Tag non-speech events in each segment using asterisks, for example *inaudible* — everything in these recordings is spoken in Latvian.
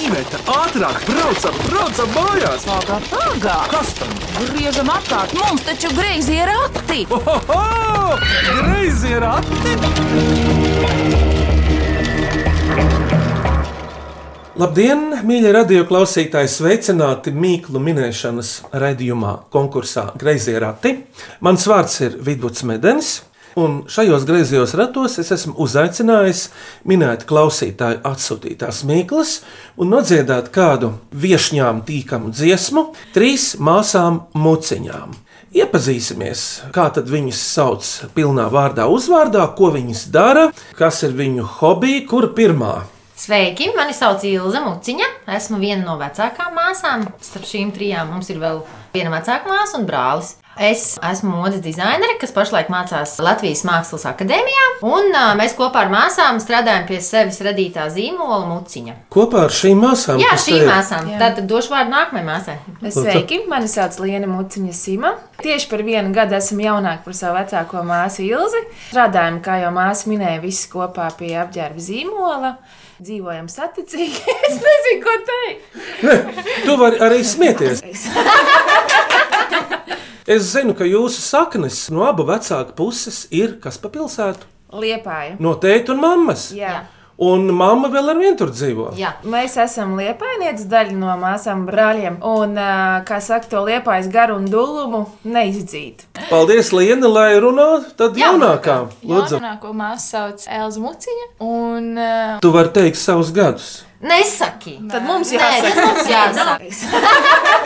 Iveta, ātrāk, braucam, braucam mājās! Pagā, pagā! Kas tam? Griežam apkārt! Mums taču greizi ir rati! Ohoho! Greizi ir ati! Labdien, mīļie radio klausītāji! Sveicināti Mīklu minēšanas raidījumā, konkursā Greizie rati. Mans vārds ir Vidvuds Medens, un šajos griezījos ratos es esmu uzaicinājis minēt klausītāju atsūtītās mīklas un nodziedāt kādu viešņām tīkamu dziesmu trīs māsām muciņām. Iepazīsimies, kā tad viņas sauc pilnā vārdā, uzvārdā, ko viņas dara, kas ir viņu hobija, kur pirmā Sveiki, mani sauc Ilza Muciņa. Esmu viena no vecākām māsām. Starp šīm trijām mums ir vēl viena vecāka māsa un brālis. Es esmu modes dizainere, kas pašlaik mācās Latvijas Mākslas akadēmijā, un ā, mēs kopā ar māsām strādājam pie sevis radītā zīmola muciņa. Kopā ar šīm māsām. Jā, kas šī te ir? māsā. Jā. Tad došu vārdu nākamajai māsai. Sveiki, mani sauc Liena Muciņa Sima. Tieši par vienu gadu esam jaunāki par savu vecāko māsu Ilzi. Strādājam, kā jau māsa minēja, visi kopā pie apģērba zīmola. Dzīvojam saticīgi. *laughs* es nezinu, ko teikt. Tu vari arī smieties. Es zinu, ka jūsu saknes no abu vecāku puses ir kas pa pilsētu. Liepāja. No tēta un mammas. Jā. Jā. Un mamma vēl ar vienu tur dzīvo. Jā. Mēs esam liepainieces daļa no māsām, brāļiem. Un, ā, kā saka, to liepais garu un dulumu neizdzīt. Paldies, Liena, lai runā tad jaunākā. Lūdzu, Jaunāko māsu sauc Elza Muciņa, un uh, tu vari teikt savus gadus. Nesaki! Tad mums Nē, jāsaka, tad mums jāsaka.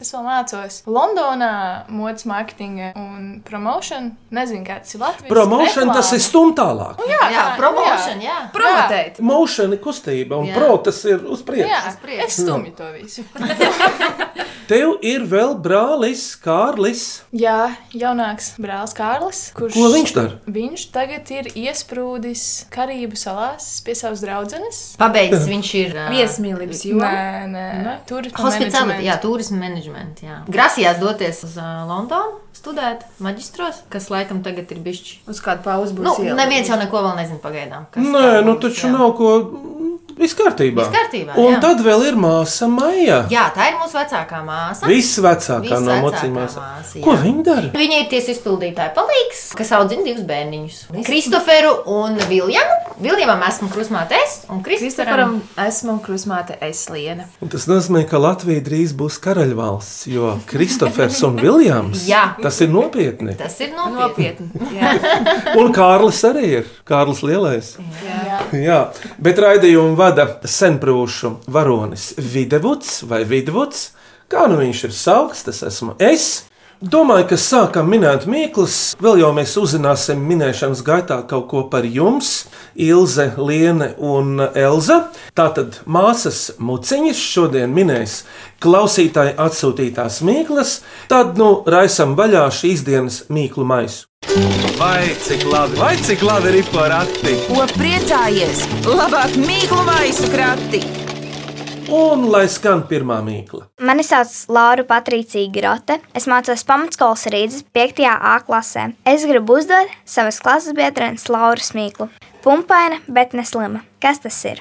es vēl mācos Londonā modes marketinga un promotion. Nezinu, kā tas ir Latvijas. Promotion tas ir stum tālāk. Jā, Jā, promotion, jā. promotēt. Motion ir kustība un Jā. pro tas ir uz priekšu. Jā, Uz priekšu. es stumju to visu. *laughs* Tev ir vēl brālis Kārlis. Jā, jaunāks brālis Kārlis, kurš Ko viņš dara? Viņš tagad ir iesprūdis Karību salās pie savas draudzenes. Pabeidzis viņš ir ā, Viesmīlības jūra. Nē, nē, tur ir Hospitālā, jā, turisma menedžmentā. jā. Grasījās doties uz uh, Londonu studēt maģistros, kas laikam tagad ir bijis. Uz kādu pauzi būs Nu, ielikt. neviens jau neko vēl nezina pagaidām. kas Nē, tā nu būs, taču jā. nav ko. Viss kārtībā. Viss kārtībā, Un jā. tad vēl ir māsa Maija. Jā, tā ir mūsu vecākā māsa. Visvecākā no Visvecākā mocīm māsām. māsa, jā. Ko viņa dara? Viņa ir tiesa izpildītāja palīgs, kas audzina divus bērniņus. Kristoferu un Viljamu. Viljamam esmu krusmāte es, un Kristoferam Kristoferam esmu krusmāte Esliena. Un tas nozīmē, ka Latvija drīz būs karaļvalsts, jo Kristofers *laughs* un Viljams Jā. tas ir nopietni. tas ir nopietni. Nopietni. Jā, Un Kārlis arī ir. Kārlis Lielais. jā. *laughs* Jā, bet raidījumu vada senprūšu varonis Videvuds vai Vidvuds. Kā nu viņš ir saukts, tas esmu es. Domāju, ka sākam minēt mīklas, vēl jau mēs uzzināsim minēšanas gaitā kaut ko par jums, Ilze, Liene un Elza. Tātad māsas muciņas šodien minēs klausītāji atsūtītās mīklas, tad nu raisam vaļā šīs dienas mīklu maisu. Vai cik labi, vai cik labi ir porati! Ko priecājies? Labāk mīklu maisu krati! Un lai skan pirmā mīkla. Mani sauc Laura Patricija Grote. Es mācos pamatskolas rītas 5. A klasē. Es gribu uzdot savas klases biedrenes Lauras Mīklu. Pumpaina, bet neslima. Kas tas ir?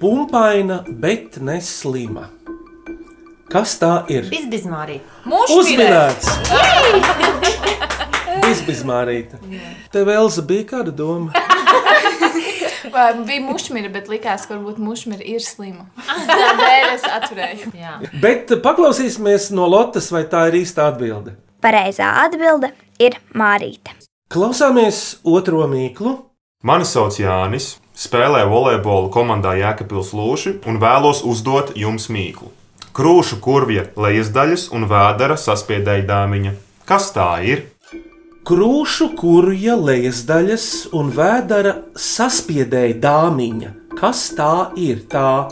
Pumpaina, bet neslima. Kas tā ir? Bizbizmārī. Uzminēts! Bizbizmārīta. Tev Elza bija kāda doma. Vai bija mušmira, bet likās, ka varbūt mušmira ir slima. Tādēļ es atturēju. Jā. Bet paklausīsimies no Lotas, vai tā ir īsta atbilde. Pareizā atbilde ir Mārīte. Klausāmies otro mīklu. Mani sauc Jānis, spēlēju volejbolu komandā Jēkabils Lūši un vēlos uzdot jums mīklu. Krūšu kurvja lejasdaļas un vēdera saspiedēja dāmiņa. Kas tā ir? Krūšu kurja lejas daļas un vēdara saspiedēja dāmiņa. Kas tā ir tā,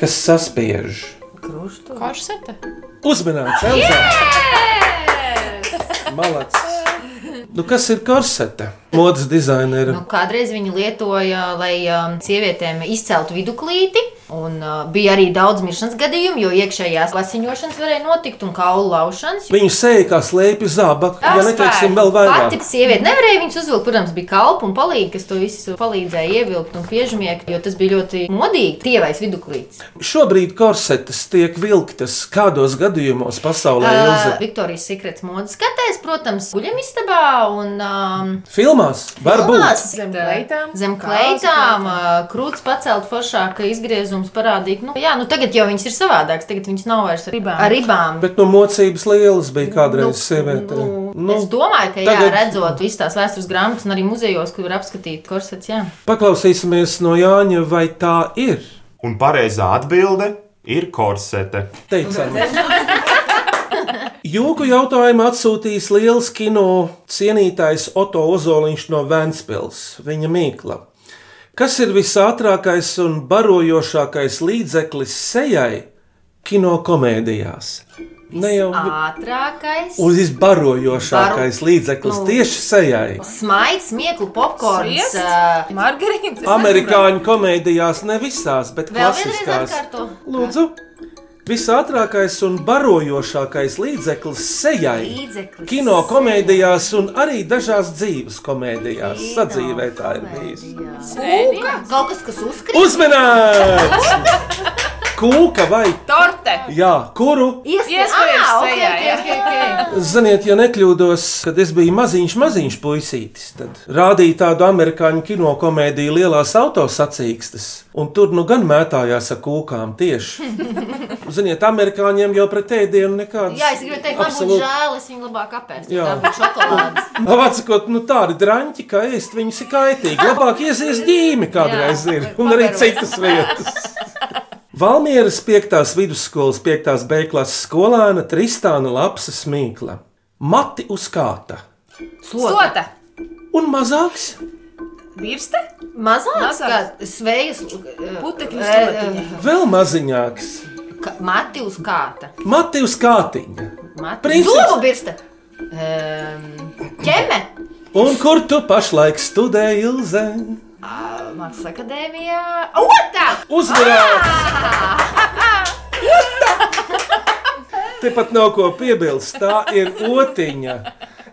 kas saspiež? Korsete? Uzmanīts, Elza! Malacis! Nu, kas ir korsete? Modes dizainera. Nu, kādreiz viņi lietoja, lai um, sievietēm izceltu viduklīti. Un, uh, bija arī daudz miršanas gadījumu, jo iekšējās lasiņošanas varēja notikt un kaulu laušanas. Viņu sēja kā slēpja zābaka, ja neteiksim vēl vairāk. Pati sieviete nevarēja viņus uzvilkt. Protams, bija kalpa un palīgi, kas to visu palīdzēja ievilkt un piežmiegt, jo tas bija ļoti modīgi. Tievais viduklīts. Šobrīd korsetes tiek vilktas kādos gadījumos pasaulē Uh, ilzi. Viktorijas sekrets modes skatēs, protams, guļamistabā un um, Filmās varbūt. filmās. Zem kleitām. Zem kleitām, ā, krūts pacelt foršāk, izgriezums parādīt. Nu, jā, nu tagad jau viņas ir savādākas. Tagad viņas nav vairs ar Ribām. Ar ribām. Bet no mocības lielas bija kādreiz sieviete. Nu, es domāju, ka, tagad... jā, tagad- redzot visas tās vēstures grāmatas, un arī muzejos, kur var apskatīt korsets, jā. Paklausīsimies no Jāņa, vai tā ir. Un pareizā atbilde ir korsete. Teicam. *laughs* Jūku jautājumu atsūtījis liels kino cienītājs Oto Ozoliņš no Vēncpils, viņa mīkla. Kas ir visātrākais un barojošākais līdzeklis sejai kino komēdijās? Ne jau Ātrākais. un visbarojošākais līdzeklis Nu. tieši sejai. Smaids, smieklu, popkorns. Sviest? ā, Margarītas. Amerikāņu komēdijās ne visās, bet Vēl vienreiz klasiskās. atkārto. Lūdzu, visātrākais un barojošākais līdzeklis sejai. Līdzeklis Kino komēdijās un arī dažās dzīves komēdijās. Kino Sadzīvē tā ir bijis. komēdijā. Sēdīja. Kaut kas, kas uzkrīt. Uzmanīgs! Kūka vai Torte. jā, kuru? Iespējams, Iespējams, ah, okay, sejā, okay, jā. okay, okay. Ziniet, ja nekļūdos, kad es biju maziņš, maziņš puisītis, tad rādīja tādu amerikāņu kino komēdiju lielās autosacīkstes, un tur nu gan mētājās ar kūkām *laughs* tieši. Ziniet, amerikāņiem jau pret ēdienu nekādas. Jā, es gribēju teikt, man būtu Absolūti. žēl, es viņu labāk apēstu. Jā. Tā būtu šokolādes. Vācakot, nu tādi drāņķi, kā ēst, viņus ir kaitīgi. Labāk iesies ģīmi kādreiz Jā, ir, un arī paveros. citas vietas. Valmieras 5. vidusskolas 5. B klases skolēna Tristāna Lapsa Smīkla. Mati uz kāta. Slota. Slota. Un mazāks Birste. Mazāks, eh, kā Mazāks. svejas Putekļu slotiņa. slotiņa. Vēl maziņāks, Mati uz eh, kāta. Mati uz kātiņa. Mati uz Princis. zobu birsta. Em, Ehm, Ķeme. Un kur tu pašlaik studē, Ilze? Mākslas akadēmijā. Otā! *laughs* Uzvarēt! Tepat nav ko piebilst, tā ir otiņa.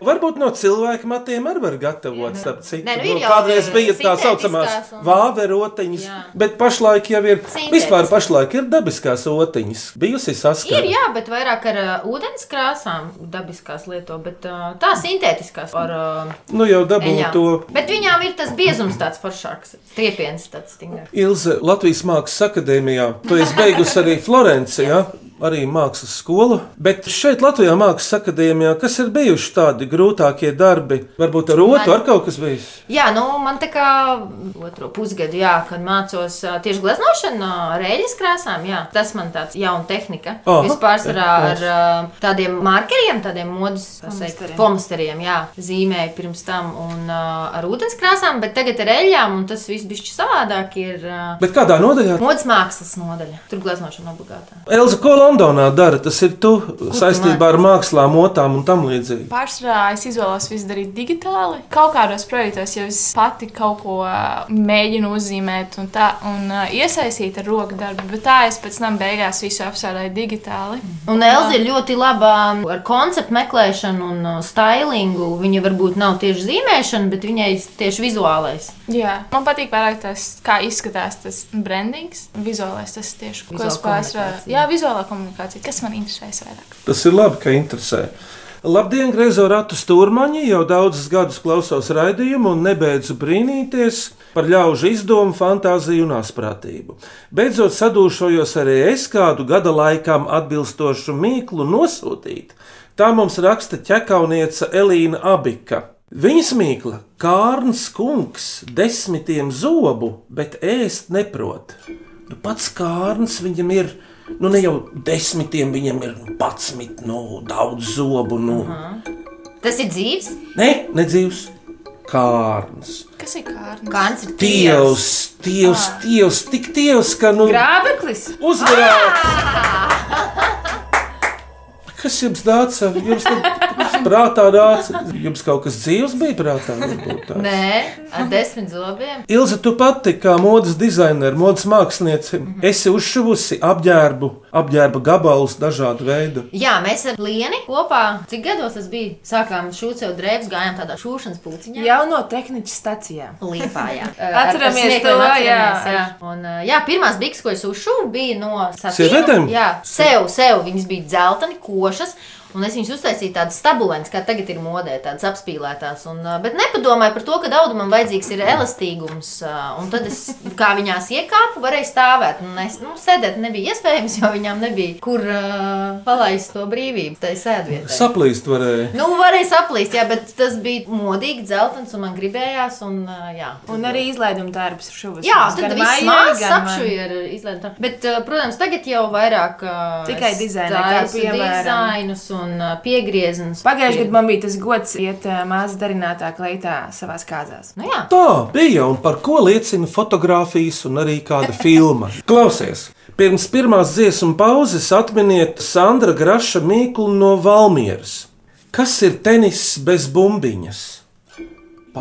Varbūt no cilvēka matiem arī var gatavot, starp citu. Nē, nu ir Nu, jau Kādreiz bija tā sintētiskās saucamās un- vāverotiņas, Jā. bet pašlaik jau ir, Sintētiskās. vispār pašlaik ir dabiskās otiņas. Bijusi Ir saskara. jā, bet vairāk ar uh, ūdens krāsām, dabiskās lieto, bet uh, tā sintētiskās ar uh, Nu jau dabūju eļām. to Bet viņām ir tas biezums tāds foršāks, triepiens tāds stingrāks. Ilze, Latvijas Mākslas akadēmijā, tu esi beigusi arī Florencijā. Arī mākslas skolu. Bet šeit, Latvijā, Mākslas akadēmijā, kas ir bijuši tādi grūtākie darbi, varbūt ar otru, ar kaut kas bijis. Jā, nu man tā kā otro pusgadu, jā, kad mācos ā, tieši gleznošanu no rēļas krāsām, jā, tas man tāds jauna tehnika. Aha. Vispār Jā, ar ā, tādiem markeriem, tādiem modus Flomasteriem. pomasteriem, jā, zīmēju pirms tam un ā, ar ūdens krāsām, bet tagad ar rēļām un tas viss bišķi savādāk ir ā, Bet kādā nodaļā? modas mākslas nodaļa. Tur gleznošana obligātā. Elza, ko Londonā dara? Tas ir tu saistībā ar mākslām, otām un tam līdzīgi. Pārsvarā es izvēlos visu darīt digitāli. Kaut kādos projektos jau es pati kaut ko ā, mēģinu uzzīmēt un, tā, un ā, iesaistīt ar roku darbu, bet tā es pēc tam beigās visu apsvērdēju digitāli. Un Elza ir ļoti laba ar konceptu meklēšanu un uh, stilingu. Viņa varbūt nav tieši zīmēšana, bet viņai tieši vizuālais. Jā. Man patīk vairāk tas, kā izskatās tas brandings, vizuālais tas tieši, ko Vizuāla es pārsvarēju. komunikācija. Jā, vizuālā komunikācija, kas man interesē vairāk. Tas ir labi, ka interesē. Labdien, Grēzo Ratu stūrmaņi! Jau daudzus gadus klausos raidījumu un nebeidzu brīnīties par ļaužu izdomu, fantāziju un asprātību. Beidzot, sadūšojos arī es kādu gada laikam atbilstošu mīklu nosūtīt. Tā mums raksta ķekaunieca Elīna Abika. Viņas mīkla - kārns kungs, desmitiem zobu, bet ēst neprot. Nu, pats kārns viņam ir. Nu, ne jau desmitiem viņam ir pats, nu, daudz zobu. Nu. Tas ir dzīves, Nē, nedzīvs. Kārns. Kas ir kārnis? kāds ir Dievs, Dievs, Dievs, tik Dievs, ka nu Grābeklis. uzvarēt! Kas jums dāca? Jums, ne, jums prātā nāca? Jums kaut kas dzīves bija prātā? varbūt tāds? Nē, ar desmit zobiem. Ilza, tu pati kā modes dizainere, modes māksliniece, mm -hmm. esi uzšuvusi apģērbu, apģērba gabalus dažādu veidu. Jā, mēs ar Lienu kopā, cik gados tas bija, sākām šūt sev drēbes, gājām tādā šūšanas pulciņā. Jau no tehnikas stacijā. Liepā, jā. *laughs* Atceramies Ar- ar to, smiekliem jā. atceramies, jā. Un, uh, jā, pirmās bikses, ko es uzšuvu, bija no satīna. Sievietēm? Jā, sev, sev. Viņas bija dzelteni, košas. Un es viņus uztaisīju tādas stabilenes, kā tagad ir modē, tādas apspīlētās. Un, uh, bet nepadomāju par to, ka audumam vajadzīgs ir elastīgums. uh, Un tad es kā viņās iekāpu, varēju stāvēt. Un es nu, sēdēt nebija iespējams, jo viņām nebija kur uh, palaist to brīvību. Tā ir sēdvieta. Saplīst varēja. Nu, varēja saplīst, jā, bet tas bija modīgi, dzeltens, un man gribējās. Un, uh, jā, Un arī izlaiduma darbs šovasar. jā Gan tad viss maijā, mākslinieks gan apšuja ar izlēmumu. Bet, uh, protams, tagad jau vairāk uh, Tikai es dizainā, kā taisu piemēram. dizainus un uh, piegriezienus. Pagājušajā gadā man bija tas gods iet ā, māsas darinātā kleitā savā kāzās. Nu, jā. Tā bija un par ko liecina fotografijas un arī kāda *laughs* filma. Klausies! Pirms pirmās dziesmu pauzes atminiet Sandra Graša mīklu no Valmieras. Kas ir tenis bez bumbiņas?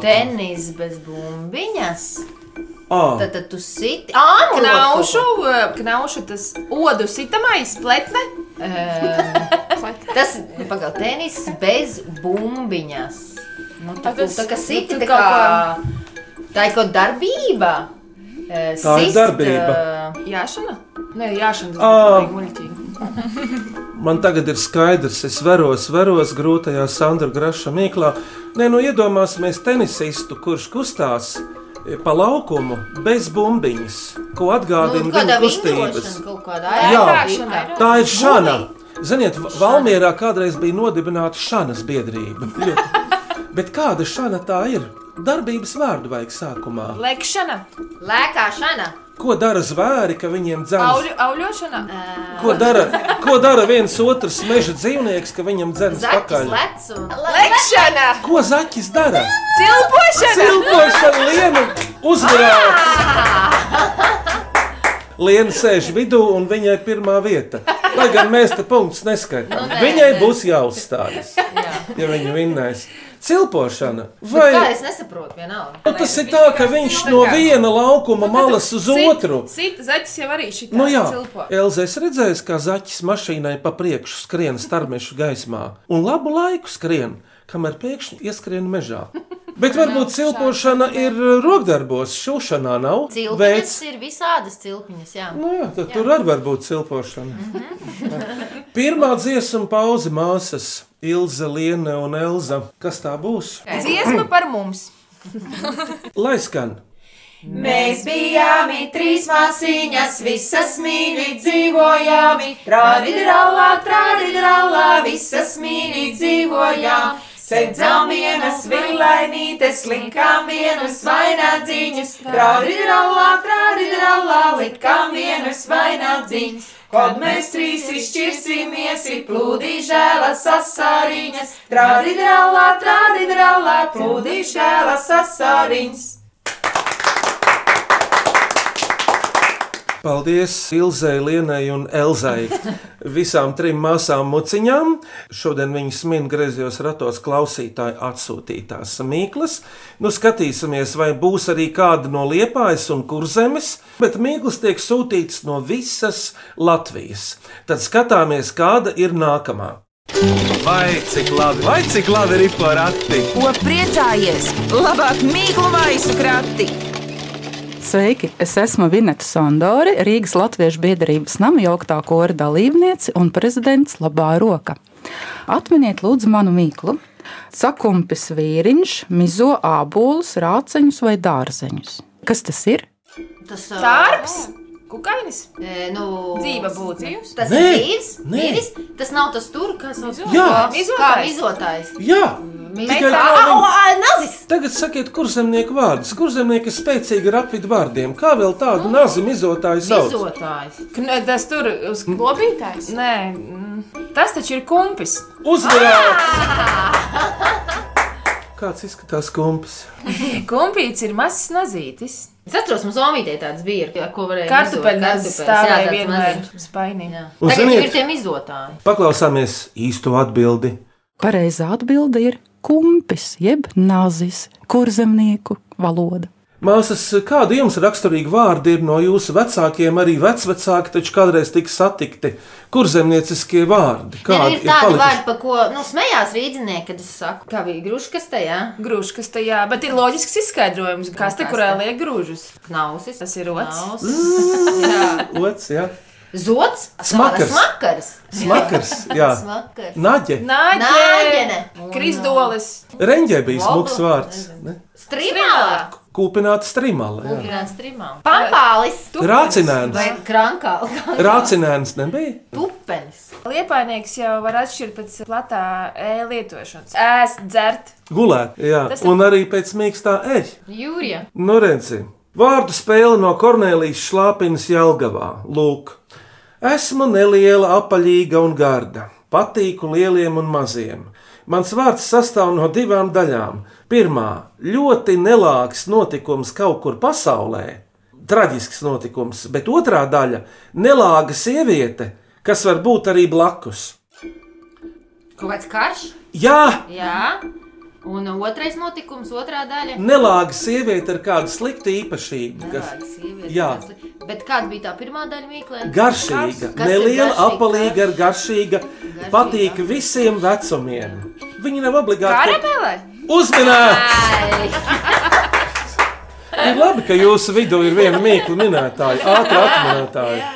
Tenis bez bumbiņas. Oh. Ah, Tad, tad tu siti āmuru. Knaušu, ā, knaušu eh, tas odu sitamais pletne. Tas ir pagaidi, tenis bez bumbiņas. Nu, tā, Tagad- tas, tā kā siti, nu, tā tu kā, kaut tā ir kaut darbība. Eh, Tā ir sist, darbība. eh, Jāšana? Nē, jāšana tas Ā. bija muļķīgi. Man tagad ir skaidrs, es veros, veros grūtajā Sandra Graša mīklā. Nē, nu iedomāsimies tenisistu, kurš kustās e, pa laukumu bez bumbiņas, ko atgādina nu, viņa kāda kustības. vingrošana kaut kādā Jā. aerobība. Tā ir šāda. Ziniet, Va- Valmjerā kādreiz bija nodibināta šāda *laughs* biedrība. Ļoti- Bet kāda šāda tā ir? Darbības vārdu vajag sākumā. Lekšana, Lēkāšana. Ko dara zvēri, ka viņiem dzēns? auļu, auļošana. Ko dara, ko dara viens otrs meža dzīvnieks, ka viņam dzēns Zaķis, pakaļ? lec un Lekšana, Ko zaķis dara? cilpošana. Cilpošana lienu uzvarēja! Liena sēž vidū un viņai pirmā vieta. Lai gan mēs te punktus neskaitām. Nu, nē, Viņai nē. būs jāuzstājas, ja viņa vinnēs. Cilpošana Vai... Nu, kā vai es nesaprotu, vienalga. nu, tas ir tā, ka viņš no Nu, viena laukuma malas uz otru. Cita zaķis jau arī šī Nu jā, cilpo. Elze, es redzēju, kā zaķis mašīnai pa priekšu skrien starmešu gaismā un labu laiku skrien, kamēr pēkšņi ieskrien *laughs* mežā. Bet varbūt cilpošana ir uh, rokdarbos, šūšanā nav. Cilpiņas Veids- ir visādas cilpiņas, jā. Mhm. Nu jā, tad tur arī var būt cilpošana. *laughs* Pirmā dziesmu pauze māsas Ilze, Liene un Elza. Kas tā būs? Dziesma par mums. Lai skan! Mēs bijām trīs māsīņas, visas mīļi dzīvojām. Trādidralā, trādidralā, visas mīļi dzīvojām. Sēdzām vienas villainītes, linkām vienus vainādzīņus. Trādidralā, trādidralā, likām vienus vainādzīņus. Kad mēs trīs izšķirsimies, ir plūdi žēla sasāriņas. Trādidralā, trādidralā, plūdi žēla sasāriņas. Paldies Ilzai, Lienai un Elzai. Visām trim māsām muciņām. Šodien viņas min griezījos ratos klausītāju atsūtītās mīklas. Nu, skatīsimies, vai būs arī kāda no liepājas un kurzemes, bet mīklas tiek sūtītas no visas Latvijas. Tad skatāmies, kāda ir nākamā. Vai cik labi, vai cik labi ir porati? Ko priecājies? Labāk mīklu maisu krati! Sveiki! Es esmu Vineta Sondori, Rīgas Latviešu biedrības nama jauktā kora dalībniece un prezidents Labā Roka. Atminiet, lūdzu, manu mīklu. Sakumpis vīriņš mizo ābolus, rāceņus vai dārzeņus. Kas tas ir? Tas Tārps, kukainis, ir nu, dzīva būtne. Tas Nē, ir dzīves, nē. dzīves. Tas nav tas tur, kas sauc Jā. kā Mizotājs. mizotājs. Jā, tikai kā Au, viņi- ai, nazis! Tagad sakiet, kur zemnieku vārdus. Kur zemnieki ir spēcīgi ar apvidu vārdiem? Kā vēl tādu nazi mizotāju sauc? Mizotājs. Kn- Tas tur uz Lobītājs. Nē, mm, tas taču ir kumpis. Uzvarēt! Ah! Kāds izskatās kumpis? Kumpīts ir mazs nazītis. Es atceros, mums omītē tāds bija, ar ko varēja Kartupeļs mizot, stāvēja kartupeļs, jā, tāds vienmēr maziņš. spainī. Jā. Un Tagad jau ziniet- ir tie mizotāji. Paklausāmies īsto atbildi. Pareizā atbilde ir kumpis, jeb nazis, kurzemnieku valoda. Māsas, kādi jums raksturīgi vārdi ir no jūsu vecākiem, arī vecvecāki, taču kādreiz tika satikti? Kur zemnieciskie vārdi? Nē, nu, Kādi ir tāda vārda, par ko nu, smējās rīznieki, kad es saku, kā bija grūškas tajā. Grūžas tajā, bet ir loģisks izskaidrojums, kas te kurai Kaste. liek grūžus. Knausis. Tas ir rots. Knausis. Ots, jā. Zots. Smakars. Smakars. Smakars, jā. *laughs* Smakars. Naģe. Nāģene! Nāģene. Kristolis! Reņģē bija Lobla. smags vārds. ne? Strimālā. Kūpināta strimala. jā. Grāns trimālā. Pampālis. Vai Rācinēns. krankāls. Rācinēns nebija. *laughs* Tupenis. Liepainieks jau var atšķirt pēc platā e lietošanas. Ēst, dzert. Gulēt, jā. Tas ir- Un arī pēc mīkstā eļļa. Jūrija. Nu, redzi, vārdu spēle no Kornelijas šlāpienas Jelgavā. Lūk, esmu neliela, apaļīga un garda. Patīku lieliem un maziem. Mans vārds sastāv no divām daļām. Pirmā - ļoti nelāks notikums kaut kur pasaulē, traģisks notikums, bet otrā daļa - nelāga sieviete, kas var būt arī blakus. Kaut kāds karš. Jā, Jā. Un otrais notikums, otrā daļa. nelāga sieviete ar kādu sliktu īpašību. Kas... Nelāga sieviete, Jā. kāds li- Bet kāda bija tā pirmā daļa mīklē? Garšīga, Kas ir neliela, garšīga? apelīga, ar garšīga, patīk visiem vecumiem. Viņi nav obligāti Karamele! uzmanīgi. Ai, Ir labi, ka jūsu vidū ir viena mīkla minētāja, ātrā atminētāja.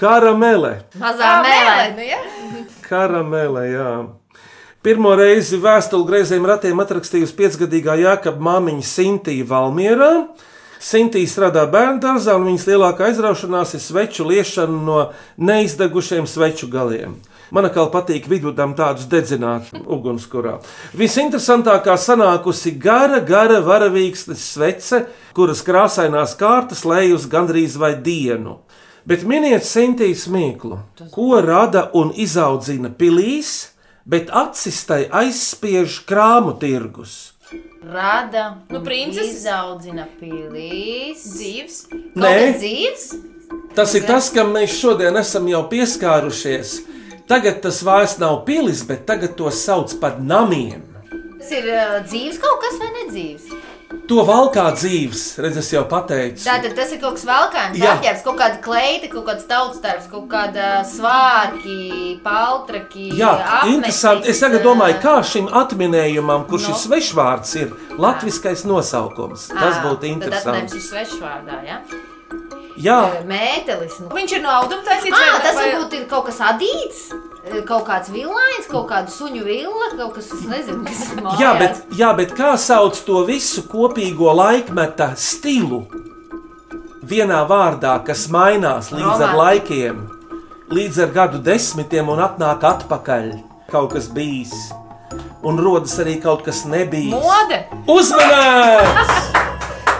Karamele, Mazā mēlē. nu, jā. karamele, jā. Pirmo reizi vēstuli greizējiem ratiem atrakstījusi piecgadīgā Jākapa māmiņa Sintīna Valmierā. Sintīna strādā bērnu dārzā, un viņas lielākā aizraušanās ir sveču liešana no neizdegušiem sveču galiem. Man kā patīk vidudam tādus dedzināt ugunskurā. Visinteresantākā sanākusi gara, gara varavīksnes svece, kuras krāsainās kārtas lejas gandrīz vai dienu. Bet miniet Sintīs mīklu, ko rada un izaudzina pilīs, bet acis tai aizspiež krāmu tirgus. Rada. Nu, un princeses. Izaudzina pilīs. Dzīves. Kaut Nē. kas Dzīves. Tas ir tas, kam mēs šodien esam jau pieskārušies. Tagad tas vairs nav pilis, bet tagad to sauc par namiem. Tas ir uh, dzīves kaut kas vai nedzīves. To valkā dzīves, redzēs, jau pateicu. Tātad tas ir kaut kas velkājums, Jā. apģērbs, kaut kāda kleita, kaut kāds tautsdarbs, kaut kāda svārki, paltraki. Jā, apmetnis, interesanti. Es tagad ā, domāju, kā šim atminējumam, kurš Nu. ir svešvārds, ir latviskais nosaukums. Tas ā, būtu Ah, Tad atnēms interesanti. viņš svešvārdā, jā? Jā, Mētelis. Nu. Viņš ir no auduma taisīts. Ā, vai- tas vai- varbūt ir kaut kas adīts, kaut kāds villains, kaut kāda suņu villa, kaut kas, es nezinu, kas ir mājās. Jā bet, jā, bet kā sauc to visu kopīgo laikmeta stilu? Vienā vārdā, kas mainās līdz ar Romantika. laikiem, līdz ar gadu desmitiem un atnāk atpakaļ. Kaut kas bijis, un rodas arī kaut kas nebija. Mode! Uzmanīgs! *laughs*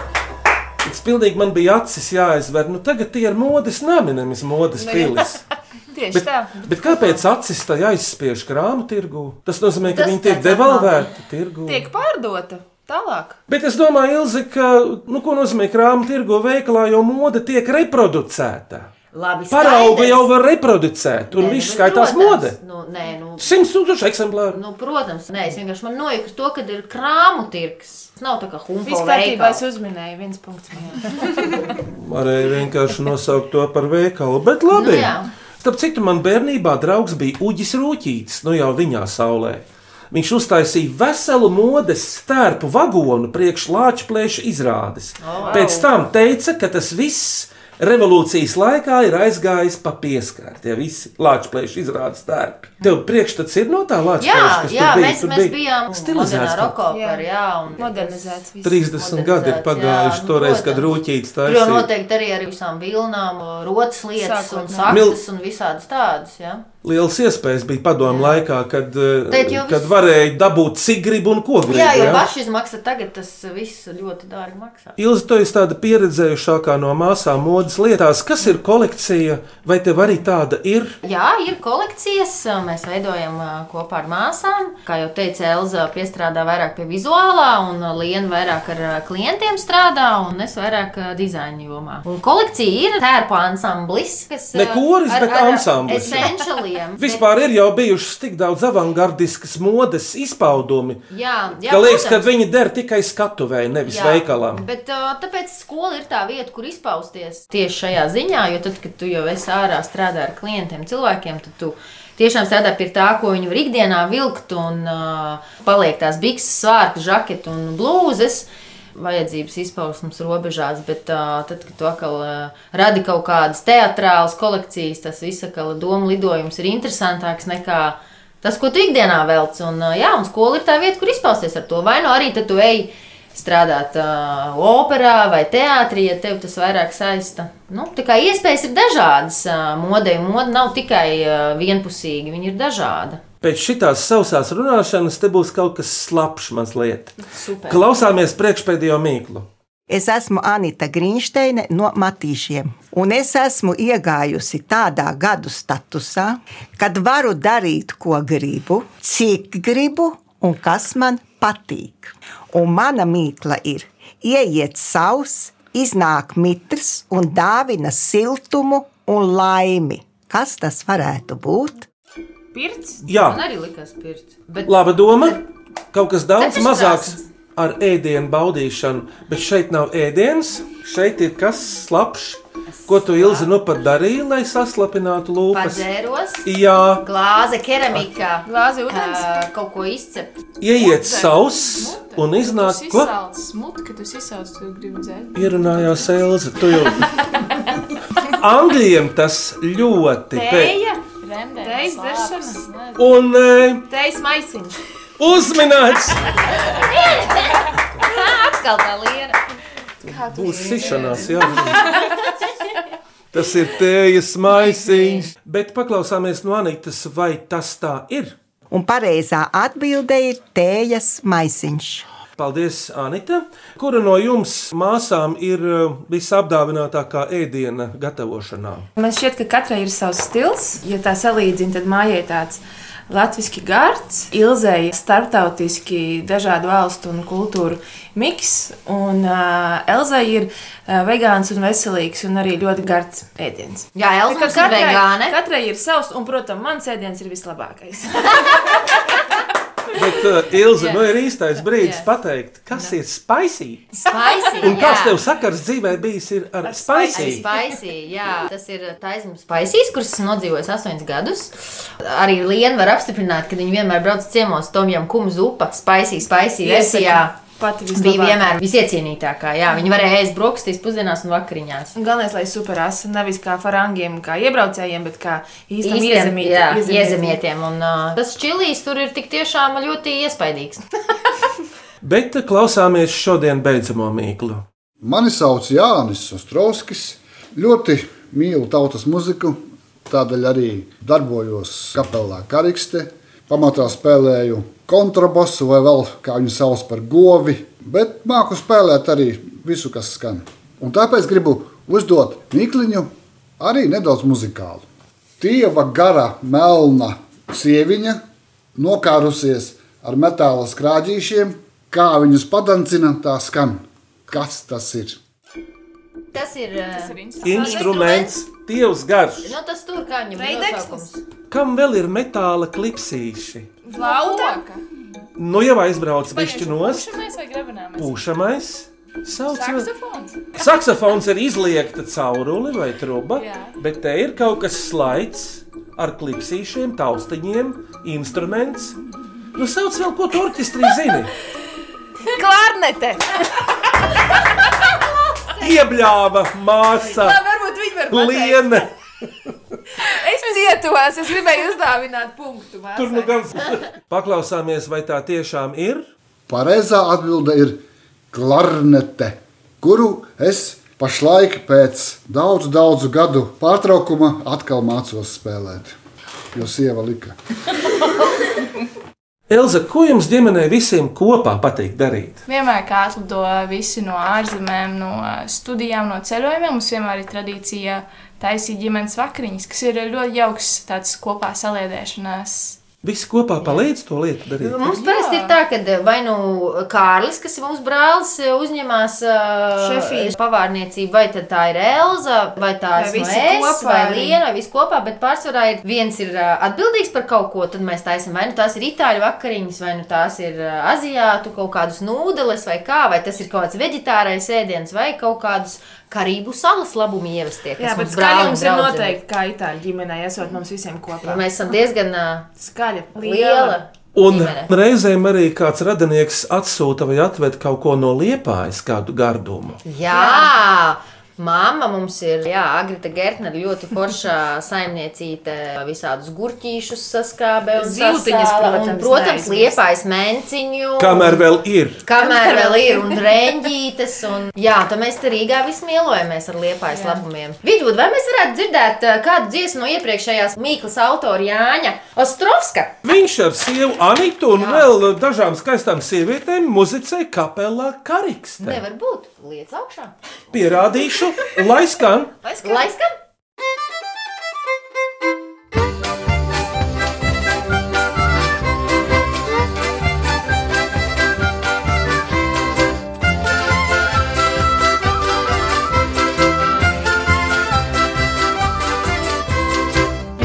Tas pilnīgi man bija acis jāizver. Nu, tagad tie ir modes nami, nevis modes pilis. Nu, *laughs* Tieši Bet, tā. bet kāpēc acis tā aizspiež krāmu tirgu? Tas nozīmē, ka Tas viņi tiek tāds devalvēti tirgu. Tiek pārdota tālāk. Bet es domāju, Ilzi, ka, nu, ko nozīmē krāma tirgo veikalā, jo mode tiek reproducēta. Labi, Parauga skaidrs. jau var reproducēt, un Nē, viss nu, skaitās protams. mode. Nu, nē, nu, 100 tūkstoši eksemplāru. Nu, protams, nē, es vienkārši man noieku to, ka ir krāmu tirgs. Tas nav tā kā humors. Viss kārtībā es uzminēju, viens punkts. *laughs* man. Varēja vienkārši nosaukt to par veikalu, bet labi. Nu, jā. Starp citu, man bērnībā draugs bija Uģis Rūķītis, nu jau viņā saulē. Viņš uztaisīja veselu modes stērpu vagonu priekš lāča plēša izrādes. Oh, wow. Pēc tam teica, ka tas viss revolūcijas laikā ir aizgājis pa pieskāri. Tie visi lāča plēša izrādes stērpi. Tev priekšstats ir no tā lāča Jā, plēša, kas jā tur bija. mēs, Tur mēs bija bijām stilizēts. kaut- Rokopā. Jā. Jā, un Modernizēts. viss. 30 gadi ir modernizēts, pagājuši jā, nu, toreiz, kad protams. Rūķītis Tur jau taisīja. noteikti arī ar visām vilnām, rotas lietas un Sākotnēji. saktas un visādas tādas. Ja? Liels iespējas bija padomu laikā, kad, eh, Tad jau kad viss- varēja dabūt cigribu un ko gribi. Jā, jo pašizmaksa tagad tas viss ļoti dārgi maksā. Ilzi, tu esi tāda pieredzējušākā no māsām modes lietās. Kas ir kolekcija, vai tev arī tāda ir? Jā, ir kolekcijas, mēs veidojam ā, kopā ar māsām. Kā jau teica Elza, piestrādā vairāk pie vizuālā, un Lienu vairāk ar ā, klientiem strādā, un es vairāk ā, dizaina jomā. Un kolekcija ir tērpa ansamblis, kas ā, Ne koris, bet ansamblis. Essentially, pieejama. *laughs* Vispār ir jau bijušas tik daudz avangardiskas modes izpaudumi, Jā, jā, ka liekas, ka protams. viņi der tikai skatuvēji, nevis jā. veikalām. Bet uh, tāpēc skola ir tā vieta, kur izpausties tieši šajā ziņā, jo tad, kad tu jau esi ārā strādā ar klientiem, cilvēkiem, tad tu tiešām strādā pie tā, ko viņi var ikdienā vilkt un uh, paliek tās bikses, svārki, žaketi un blūzes. Vajadzības izpausmes robežās, bet uh, tad, kad tu atkal uh, radi kaut kādas teatrālas kolekcijas, tas viss atkal doma lidojums ir interesantāks nekā tas, ko tu ikdienā velc. Un, uh, jā, un skola ir tā vieta, kur izpausties ar to. Vai nu arī tad tu ej strādāt uh, operā vai teātrī, ja tev tas vairāk saista. Nu, tā kā iespējas ir dažādas uh, modē, un moda nav tikai uh, vienpusīga, viņa ir dažāda. Pēc šitās sausās runāšanas te būs kaut kas slapjš mazliet. Super. Klausāmies priekšpēdējo mīklu. Es esmu Anita Grīnšteine no Matīšiem. Un es esmu iegājusi tādā gadu statusā, kad varu darīt, ko gribu, cik gribu un kas man patīk. Un mana mīkla ir: ieiet savs, iznāk mitrs un dāvina siltumu un laimi. Kas tas varētu būt? Pirts? Jā, Man arī likās pirkt. Bet laba doma. Kaut kas daudz Cepures mazāks krāsns. ar ēdienu baudīšanu, bet šeit nav ēdienas, šeit ir kas slapjš. Ko tu ilgi nu pat darīji, lai saslapinātu lūpas? padzēros, Jā, glāze, keramika, Glāzi ūdens? uh, kaut ko izcept. ieiet savs un Nu, iznāk, ko Smuti, ka tu izsauc, tu gribi dzert. ierunājās Elza. Tu jau Angļiem tas ļoti pēc. Teja? Remdēns, Reiz labs. dzeršana? Un e, Tejas maisiņš. uzminēts! Atkal tā liera. Būs sišanās, jā. Tas ir tējas maisiņš. Bet paklausāmies no Anītas, vai tas tā ir? Un pareizā atbilde ir tējas maisiņš. Paldies, Anita. Kura no jums māsām ir eh, visapdāvinātākā ēdiena gatavošanā? Man šķiet, ka katrai ir savs stils. Ja tā salīdzina, tad mājai tāds latviešu gārds, ilzēja starptautiski dažādu valstu un kultūru miks, un uh, Elzai ir uh, vegāns un veselīgs un arī ļoti gards ēdiens. Jā, Tā Elza kā mums ir vegāne. katrai ir savs, un, protams, mans ēdiens ir *laughs* vislabākais. Bet, uh, Ilze, nu ir īstais brīdis pateikt, kas ir spēcīgi. Spicy, Un jā. kāds tev sakars dzīvē bijis ir ar Arī spēcīgi? Spicy, jā, tas ir taisnība. Spaisīs, kuras esmu nodzīvojis astoņus gadus. Arī Lienu var apstiprināt, ka viņi vienmēr brauc ciemos tomjām kumu zupa. Spaisī, spaisī versijā. Pati Bija vislabākā. vienmēr visiecienītākā. Jā, viņi varēja ēst brokastīs, pusdienās un vakariņās. Un Galvenais, lai superasa nevis kā farangiem, kā iebraucējiem, bet kā īstam Īstiem, iezemītiem. jā, iezemītiem. iezemietiem. Un, uh, tas čilīs tur ir tik tiešām ļoti iespaidīgs. *laughs* Bet eh, klausāmies šodien beidzamo mīklu. Mani sauc Jānis Ostrovskis. Ļoti mīlu tautas muziku, tādēļ arī darbojos kapelā Karikste. Pamatā spēlēju kontrabosu vai vēl kā viņu sauc par govi, bet māku spēlēt arī visu, kas skan. Un tāpēc gribu uzdot Mikliņu arī nedaudz muzikālu. Tieva gara melna sieviņa nokārusies ar metāla skrāģīšiem, kā viņus padancina, tā skan. Kas tas ir? Tas ir. Tas Uh, ir interesanti. Instruments, Dievs garš. nu, tas tur kā viņam ir. Reidekslis? nosaukums. Kam vēl ir metāla klipsīši? Lauta? Loka. Nu jau aizbrauc bišķi nost. Pušamais vai grebenāmais? Pūšamais. Sauc, vai- Saksofons. Saksofons ir izliekta cauruli vai truba, Jā. bet te ir kaut kas slaids ar klipsīšiem, taustiņiem, instruments. Nu, sauc vēl, ko tu orķestrī zini. *laughs* Klarnete! Iebļāva, māsa, Tā varbūt viņi var pateikt. liene. Es cietos, es gribēju uzdāvināt punktu. māsai. Tur nu gan *laughs* paklausāmies, vai tā tiešām ir. Pareizā atbilde ir klarnete, kuru es pašlaik pēc daudzu, daudzu gadu pārtraukuma atkal mācos spēlēt. Jo sieva lika. Elza, ko jums ģimenē visiem kopā patīk darīt? Vienmēr kā atlido visi no ārzemēm, no studijām, no ceļojumiem. Mums vienmēr ir tradīcija taisīt ģimenes vakariņas, kas ir ļoti jauks tāds kopā saliedēšanās Visi kopā palīdz to lietu darīt. Mums parasti ir tā, ka vai nu Kārlis, kas ir mūsu brālis, eh, uzņemās Šefīti. šefijas pavārniecību, vai tad tā ir Elza, vai tā Vai ir visi Svētas, kopā vai arī. Liena, vai viss kopā, bet pārsvarā ir viens ir ā, atbildīgs par kaut ko, tad mēs taisam, vai nu tās ir itāļu vakariņas, vai nu tās ir ā, aziātu kaut kādas nūdeles, vai kā, vai tas ir kaut kāds veģetārais ēdiens, vai kaut kādus karību salas labumi ievestie. Jā, kas bet mums skaļi brālim mums ir draudzene. noteikti kā itāļu ģimenē, esot mums visiem kopā. Mēs esam diezgan ā, Skaļi, liela. Un ģimene. reizēm arī kāds radinieks atsūta vai atved kaut ko no liepājas, kādu gardumu. Jā! Māma mums ir, jā, Agrita Gertner ļoti forša saimniecīte, visādus gurķīšus saskābē un Ziltiņas, sasāla un, protams, protams, neaizmirst. liepais menciņu. Kamēr vēl ir. Kamēr vēl ir un rēģītas, un jā, tad mēs te Rīgā vismīlojamies ar liepais labumiem. Vidvud, vai mēs varētu dzirdēt eh, kādu dziesmu no iepriekšējās Mīklas autora Jāņa Ostrovska? Viņš ar sievu Anitu un vēl dažām skaistām sievietēm muzicē kapelā Karikstē. Nevar būt, liec augšā. Pierādīšu, lai skan Lai skan!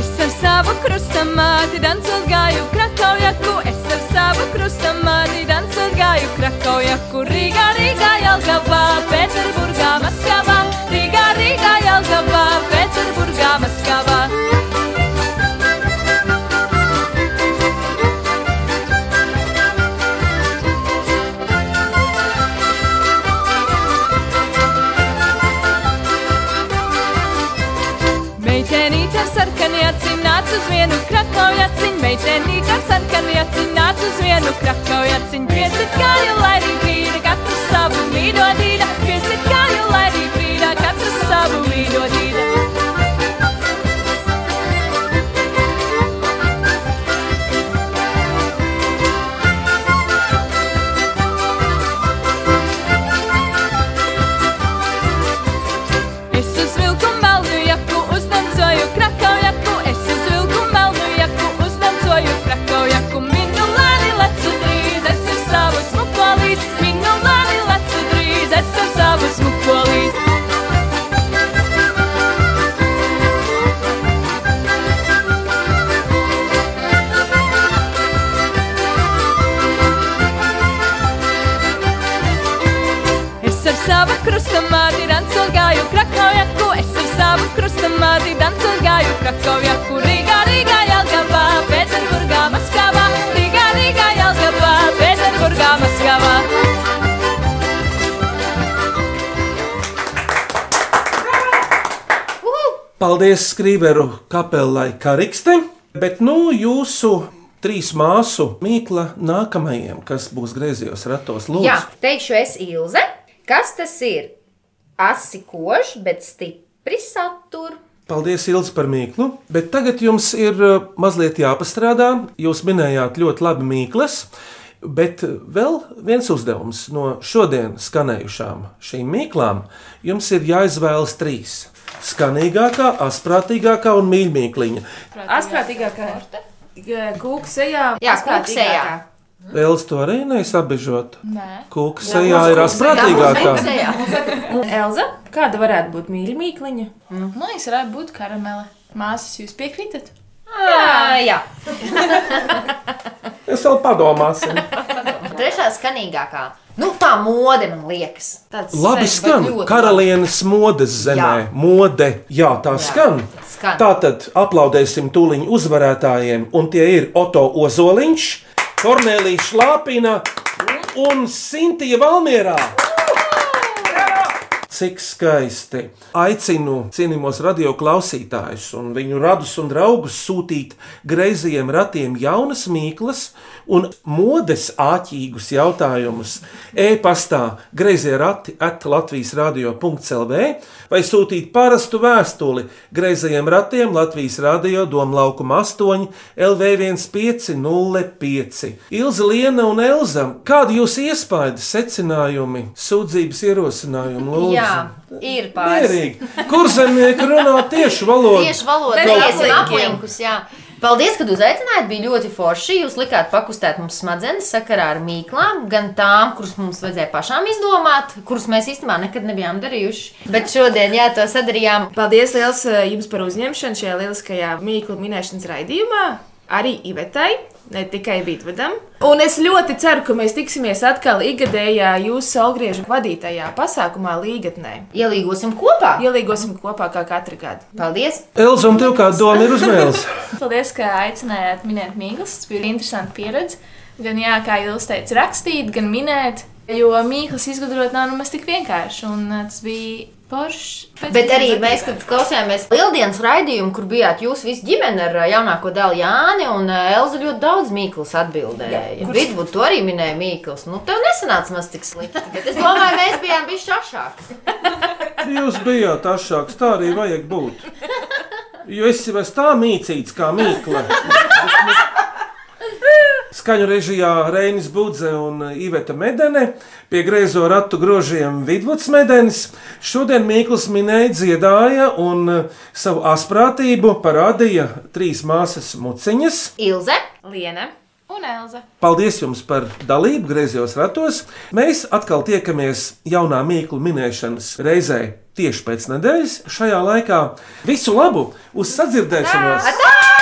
Es ar savu krustam māti dancot gāju Krakaujaku, es ar savu krustam māti dancot gāju Krakaujaku, Rīgā, Rīgā, Jelgavā, Pēterburgā, Maskavā, Rīgā, Rīgā, Jelgavā, Pēterburgā, Maskavā. Meitenīte ar sarkaniem acīm nāca uz vienu krakauju acīm, meitenīte ar sarkaniem acīm nāca uz vienu krakauju acīm. Piesiet kāju, lai arī brīda, katru savu mīļo dīda, piesiet kāju, lai arī brīda, katru savu mīļo dīda. Es uzvilku melnu jaku, uzdancoju krakauju jaku, es uzvilku melnu jaku, uzdancoju krakauju jaku. Minu lēni lecu drīz, es ar savu smuko līdz, minu lēni lecu drīz, es ar savu smuko līdz. Es ar savu krustamāti dancu gāju Krakaujaku, es ar savu krustamāti dancu gāju Krakaujaku, Rīgā, Rīgā, Jelgavā, Pēterburgā, Maskavā, Rīgā, Rīgā, Jelgavā, Pēterburgā, Maskavā. Paldies Skrīveru kapelai Karikste, bet nu jūsu trīs māsu mīkla nākamajiem, kas būs griezījos ratos lūdzu. Jā, teikšu, es Ilze. Kas tas ir? Asi kož, bet stipri satur. Paldies, Ilds, par mīklu. Bet tagad jums ir uh, mazliet jāpastrādā. Jūs minējāt ļoti labi mīklas, bet uh, vēl viens uzdevums no šodien skanējušām šīm mīklām. Jums ir jāizvēlas trīs. Skanīgākā, asprātīgākā un mīļākā. Asprātīgākā kūksejā. Jā, kūksejā. Vēlas to arī neizsabežot. Nē. Kūksejā ir asprātīgākā. Un Elza, kāda varētu būt mīļa mīkliņa? Man liekas, Nu, varētu būt karamele. Māsas, jūs piekrītat? Jā, jā. Es vēl padomāsim. Trešā skanīgākā. Nu, tā mode man liekas. Tāds Labi sveiks, skan. ļoti Karalienes modes zemē, Jā. mode. Jā, tā skan. skan. Tā tad aplaudēsim tūlīt uzvarētājiem, un tie ir Oto Ozoliņš, Kornelija Šlāpina un Sintīna Valmjerā. Cik skaisti! Aicinu cienījumos radio klausītājus un viņu radus un draugus sūtīt greizajiem ratiem jaunas mīklas un modes āķīgus jautājumus. E-pastā greizie rati at Latvijas radio.clv vai sūtīt parastu vēstuli greizajiem ratiem Latvijas radio Domlaukuma 8 LV1505. Ilza Liena un Elza, kādi jūs iespaidi, secinājumi, sūdzības ierosinājumi? Lūdzu? Jā, ir pāris. Mierīgi. Kur zemnieki runā tieši valodu? Tieši valoda Bet ir aplinkiem. aplinkus, jā. Paldies, ka uzaicinājāt. Bija ļoti forši. Jūs likāt pakustēt mums smadzenes sakarā ar mīklām, gan tām, kuras mums vajadzēja pašām izdomāt, kuras mēs īstenībā nekad nebijām darījuši. Bet šodien, jā, to sadarījām. Paldies liels eh, jums par uzņemšanu šajā lieliskajā mīklu minēšanas raidījumā. Arī Ivetai, ne tikai Vidvadam. Un es ļoti ceru, ka mēs tiksimies atkal ikgadējā jūsu saulgriežu vadītajā pasākumā Līgatnē. Ielīgosim kopā! Ielīgosim kopā kā katru gadu. Paldies! Elza, un tev kāda doma ir uz mēles? Paldies, ka aicinājāt minēt mīklas. Tas bija interesanti pieredze. Gan jā, kā jūs teicāt, rakstīt, gan minēt. Jo mīklas izgudrot nav nemaz tik vienkārši. Un eh, tas bija poršs. Bet arī mēs, kad klausījāmies Lieldienas raidījumu, kur bijāt jūs visi ģimene ar ā, jaunāko dēlu Jāni un ā, Elza ļoti daudz Mīkls atbildēja. Jā, kurš- Vidvu to arī minēja Mīkls. Nu, tev nesanāca maz tik slikti. Bet es domāju, mēs bijām bišķi ašāki. Jūs bijāt ašāks, tā arī vajag būt. Jo es jau esmu tā mīcīts kā mīkla. Skaņu režijā Reinis Budze un Iveta Medene, pie griezo ratu grožiem Vidvuds Medenis. Šodien Mīkls minēja, dziedāja un eh, savu asprātību parādīja trīs māsas muciņas. Ilze, Liene un Elza. Paldies jums par dalību griezos ratos. Mēs atkal tiekamies jaunā mīklu minēšanas reizē tieši pēc nedēļas. Šajā laikā visu labu uz sadzirdēšanos! Atā!